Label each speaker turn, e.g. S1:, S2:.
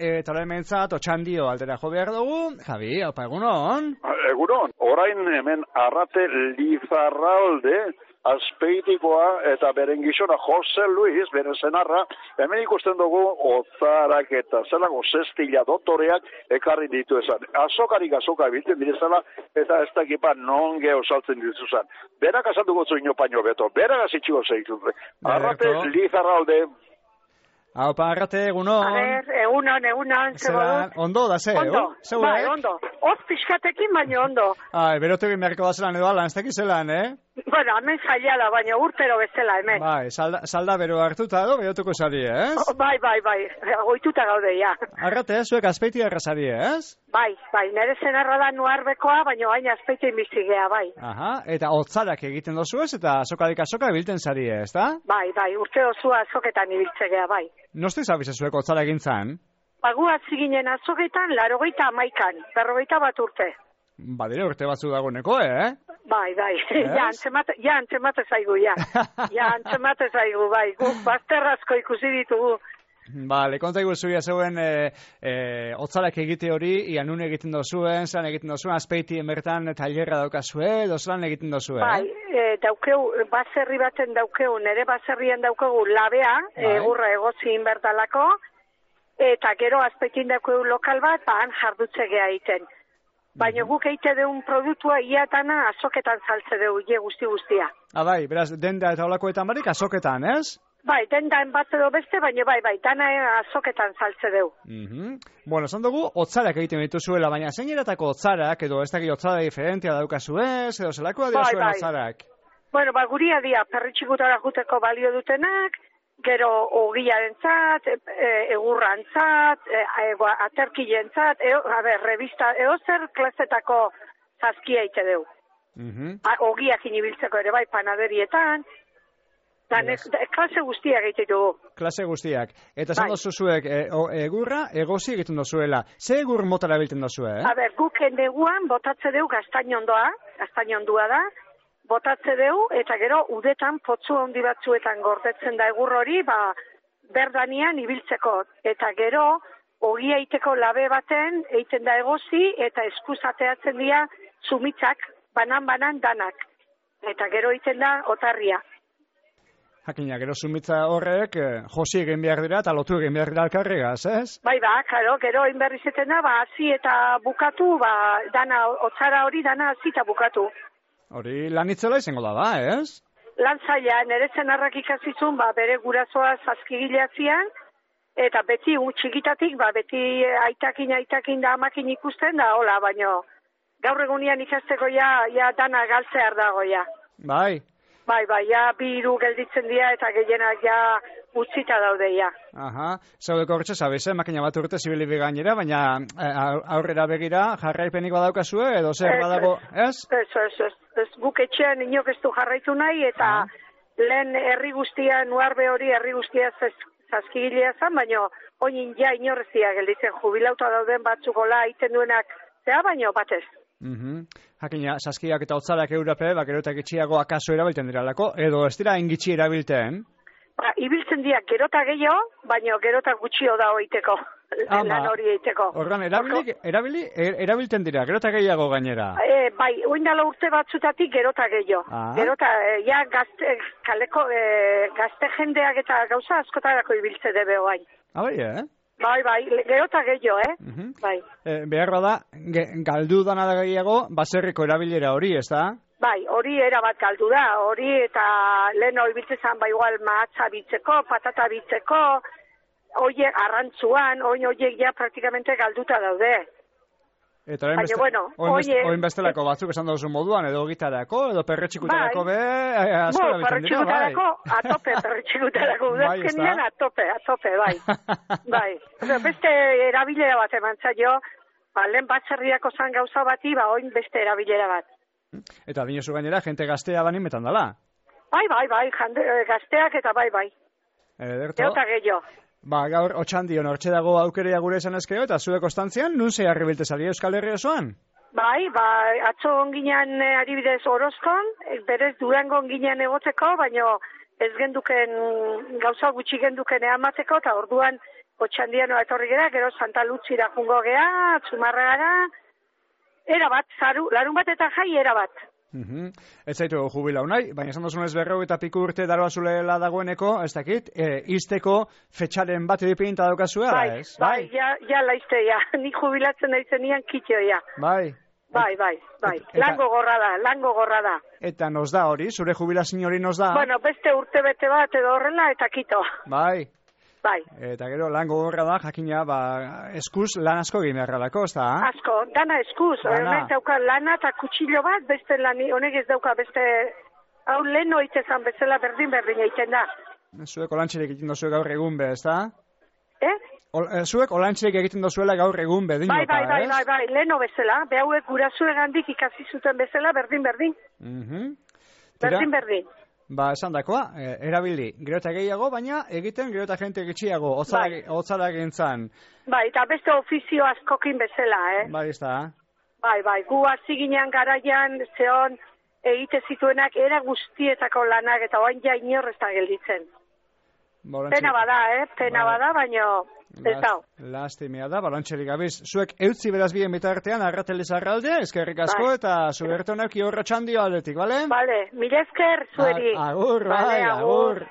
S1: e, taloementzat, otxandio aldera jo behar dugu. Javi, opa, egunon?
S2: Egunon, orain hemen arrate lizarralde, azpeitikoa eta beren gizona Jose Luis, beren zenarra, hemen ikusten dugu ozarak eta zelako zestila dotoreak ekarri ditu esan. Azokarik azoka biltzen direzala eta ez ba dakipa non geho saltzen dituzan. Berak azalduko zu inopaino beto, berak azitxiko zeituzte. Arrate
S1: Berto.
S2: lizarralde,
S1: Hau, parrate, egunon?
S3: A ber, egunon, egunon,
S1: Zeran,
S3: zegoen.
S1: ondo da ze,
S3: Ondo,
S1: eh? Zegoen,
S3: bai,
S1: eh?
S3: ondo. Hoz pixkatekin, baina ondo.
S1: Ai, berotu egin beharko da zelan edo ala, ez dakit zelan, eh?
S3: Bueno, hemen jaiala, baina urtero bezala, hemen.
S1: Bai, salda, salda bero hartuta edo, berotuko zari,
S3: O,
S1: ez?
S3: Bai, bai, bai, goituta gaude, ja.
S1: Arrate, zuek azpeiti errazari, ez?
S3: Bai, bai, nire zenarra da nuarbekoa, baina hain azpeitin bizigea, bai.
S1: Aha, eta hotzarak egiten dozu ez, eta azokarik azoka bilten zari, ez da?
S3: Bai, bai, urte osua azoketan ibiltzegea, bai. Ba,
S1: Nostiz abize zuek hotzara egin zan?
S3: Bagua ziginen azoketan, larogeita amaikan, berrogeita bat urte.
S1: Badire urte batzu dagoeneko, eh?
S3: Bai, bai,
S1: Ez?
S3: ja antzemate, ja antzemate zaigu, ja. Ja antzemate zaigu, bai, guk bazterrazko ikusi ditugu.
S1: Ba, lekonta iguzuia zeuen e, e, otzalak egite hori, ia nun egiten dozuen, zelan egiten dozuen, azpeiti bertan tailerra daukazue, edo zelan egiten dozue. eh?
S3: Bai, e, daukeu, baserri baten daukeu, nere baserrian daukegu labea,
S1: Bai.
S3: bai. egurra egozin bertalako, eta gero azpekin daukeu lokal bat, ba, han jardutzegea egiten. Baina guk eite deun produktua iatana azoketan saltze dugu, je guzti guztia.
S1: Ah, bai, beraz, denda eta olakoetan barik azoketan, ez?
S3: Bai, dendan bat edo beste, baina bai, bai, dana azoketan saltze dugu.
S1: Mhm. Bueno, esan dugu, otzarak egiten dituzuela, baina zein eratako otzarak, edo ez dakit otzara diferentia daukazuez, edo zelakoa dira
S3: Bai,
S1: zuen
S3: bai.
S1: otzarak.
S3: Bueno, ba, guria dia, perritxikutara juteko balio dutenak, gero ogiaren zat, e, e, egurran zat, e, e, ba, aterkilen zat, e, a ber, revista, eo zer klasetako zazkia ite deu.
S1: Mhm.
S3: A, ogiak inibiltzeko ere bai, panaderietan, da, ne,
S1: Yes.
S3: da, klase guztia egite dugu.
S1: Klase guztiak. Eta esan
S3: Bai.
S1: dozu zuek, e, o- egurra, egozi egiten dozuela. Ze egur motara bilten dozue, eh?
S3: A ber, guk endeguan botatze deu gaztainondoa, gaztainondua da, botatze deu, eta gero udetan potzu handi batzuetan gordetzen da egur hori, ba, berdanean ibiltzeko. Eta gero, ogia iteko labe baten, eiten da egozi, eta eskuzateatzen dira sumitzak, banan-banan danak. Eta gero egiten da otarria.
S1: Jakina, gero sumitza horrek, eh, josi egin behar dira eta lotu egin behar dira alkarregaz, ez?
S3: Bai, ba, karo, gero inberriz da, ba, hazi eta bukatu, ba, dana, otzara hori dana hazi eta bukatu.
S1: Hori lanitzela izango da, ba, ez?
S3: lan zaila, nire zenarrak ikasizun, ba, bere gurasoa zazkigilea zian, eta beti u, txikitatik, ba, beti eh, aitakin, aitakin da amakin ikusten da, hola, baino, gaur egunean ikasteko ja, ja dana galtzear dago, ja.
S1: Bai.
S3: Bai, bai, ja, bi hiru gelditzen dira eta gehienak ja utzita daude, ja.
S1: Aha, zaudeko hortxe zabiz, eh? makina bat urte zibili gainera, baina eh, aur- aurrera begira jarraipenik badaukazue, edo zer
S3: Ez,
S1: badago, ez?
S3: Ez, ez, ez, ez guk etxean inok ez du jarraitu nahi, eta
S1: Ah.
S3: lehen herri guztia, nuarbe hori herri guztia zaz, zazkigilea zen, baino oin ja inorrezia gelditzen jubilauta dauden batzuk hola egiten duenak, zea baino batez.
S1: Mhm. Jakina, saskiak eta otzalak eurape, bakero eta gitxiago akaso erabilten diralako, edo ez dira engitxi erabilten.
S3: Ba, ibiltzen dira gerota gehiago, baino gerota gutxio da hoiteko,
S1: Ama.
S3: lan hori egiteko.
S1: Ordan erabili, erabili, er- erabilten dira, gero eta gehiago gainera.
S3: E, bai, oindala urte batzutatik gerota gehiago.
S1: Ah.
S3: Gerota, e, ja gazte, kaleko, e, gazte jendeak eta gauza askotarako ibiltze debe oain.
S1: Ah, bai, eh?
S3: Bai, bai, le- gero eta gehiago, eh?
S1: Mhm.
S3: Bai,
S1: E, behar bada, ge, galdu dana da gehiago, baserriko erabilera hori, ez da?
S3: bai, hori erabat galdu da, hori eta lehen hori biltzezan, bai, igual mahatza bitzeko, patata bitzeko, oiek arrantzuan, oin oiek ja praktikamente galduta daude.
S1: Eta orain,
S3: Baina,
S1: beste,
S3: bueno,
S1: orain beste-
S3: oie-
S1: orain bestelako batzuk esan duzu moduan, edo gitarako, edo perretxikutarako
S3: Bai.
S1: be, e, asko
S3: Bo,
S1: erabiltzen dira, bai.
S3: perretxikutarako, atope, perretxikutarako,
S1: Bai, ez da?
S3: udazkenean atope, atope, bai. bai, Eta beste erabilera bat eman zaio, ba, lehen batzerriako zan gauza bati, ba, oin beste erabilera bat.
S1: Eta dinosu gainera, jente gaztea banimetan dala.
S3: Bai, bai, bai, jande, gazteak eta bai, bai,
S1: Eh, Ederto,
S3: gero eta gehiago.
S1: ba, gaur otxandion hortxe dago aukerea gure esan ezkeo, eta zuek ostantzian, nun ze harribilte zari Euskal Herri osoan?
S3: Bai, ba, atzo onginan eh, adibidez orozkon, eh, berez durango onginan egoteko, baino ez genduken gauza gutxi genduken eamateko, eta orduan otxandianoa etorri gera, gero Santa Lutzira jungo gea, txumarragara, era bat, zaru, larun bat eta jai era bat.
S1: Mhm. Ez zaitu jubilau nahi, baina esan dozunez berreu eta piku urte daroa zulela dagoeneko, ez dakit, e, izteko fetxaren bat edipinta daukazue, ala
S3: bai,
S1: ez?
S3: bai, ja, ja laizte, ja, ni jubilatzen naizen nian kitxeo, ja.
S1: Bai.
S3: Bai, bai, bai,
S1: Eta-
S3: lango gorra da, lango gorra da.
S1: Eta nos da hori, zure jubilazio hori nos da.
S3: Bueno, beste urte bete bat edo horrela eta kito,
S1: Bai.
S3: bai.
S1: Eta gero lan gogorra da, jakina, ba, eskuz lan asko egin beharralako, ez da?
S3: Asko, dana eskuz,
S1: Ah. Dana.
S3: honek dauka lana eta kutsillo bat, beste lani, honek ez dauka beste, hau lehen oitezan bezala berdin-berdin egiten da.
S1: Zuek olantxerik egiten dozuek gaur egun be, ez da?
S3: Eh?
S1: Ol, eh, zuek olantxerik egiten dozuela gaur egun be, dinota,
S3: Bai, bai, bai,
S1: ez?
S3: bai, bai, leheno bezala, behauek gurasuegandik ikasi zuten bezala berdin-berdin,
S1: Mhm. Tira,
S3: berdin-berdin.
S1: ba, esan dakoa, eh, erabili, gero eta gehiago, baina egiten gero eta jente gitxiago, otzara,
S3: Bai.
S1: otzara gintzan.
S3: Bai, eta beste ofizio askokin bezala, eh?
S1: Bai, ez da?
S3: Bai, bai, gu hasi ginean garaian, zeon, egite zituenak era guztietako lanak eta oain ja inor ez da gelditzen.
S1: Ba, olantxe-
S3: Pena bada, eh? Pena
S1: Bai.
S3: bada, baino ez
S1: Las-
S3: da.
S1: Lastimea da, balantxerik gabiz. Zuek eutzi beraz bien bitartean, arrateliz arralde, eskerrik asko,
S3: Bai.
S1: eta zubertonak iorra txandio aldetik, bale?
S3: Vale, mila esker zueri.
S1: A- Agur,
S3: Bale,
S1: bai, agur.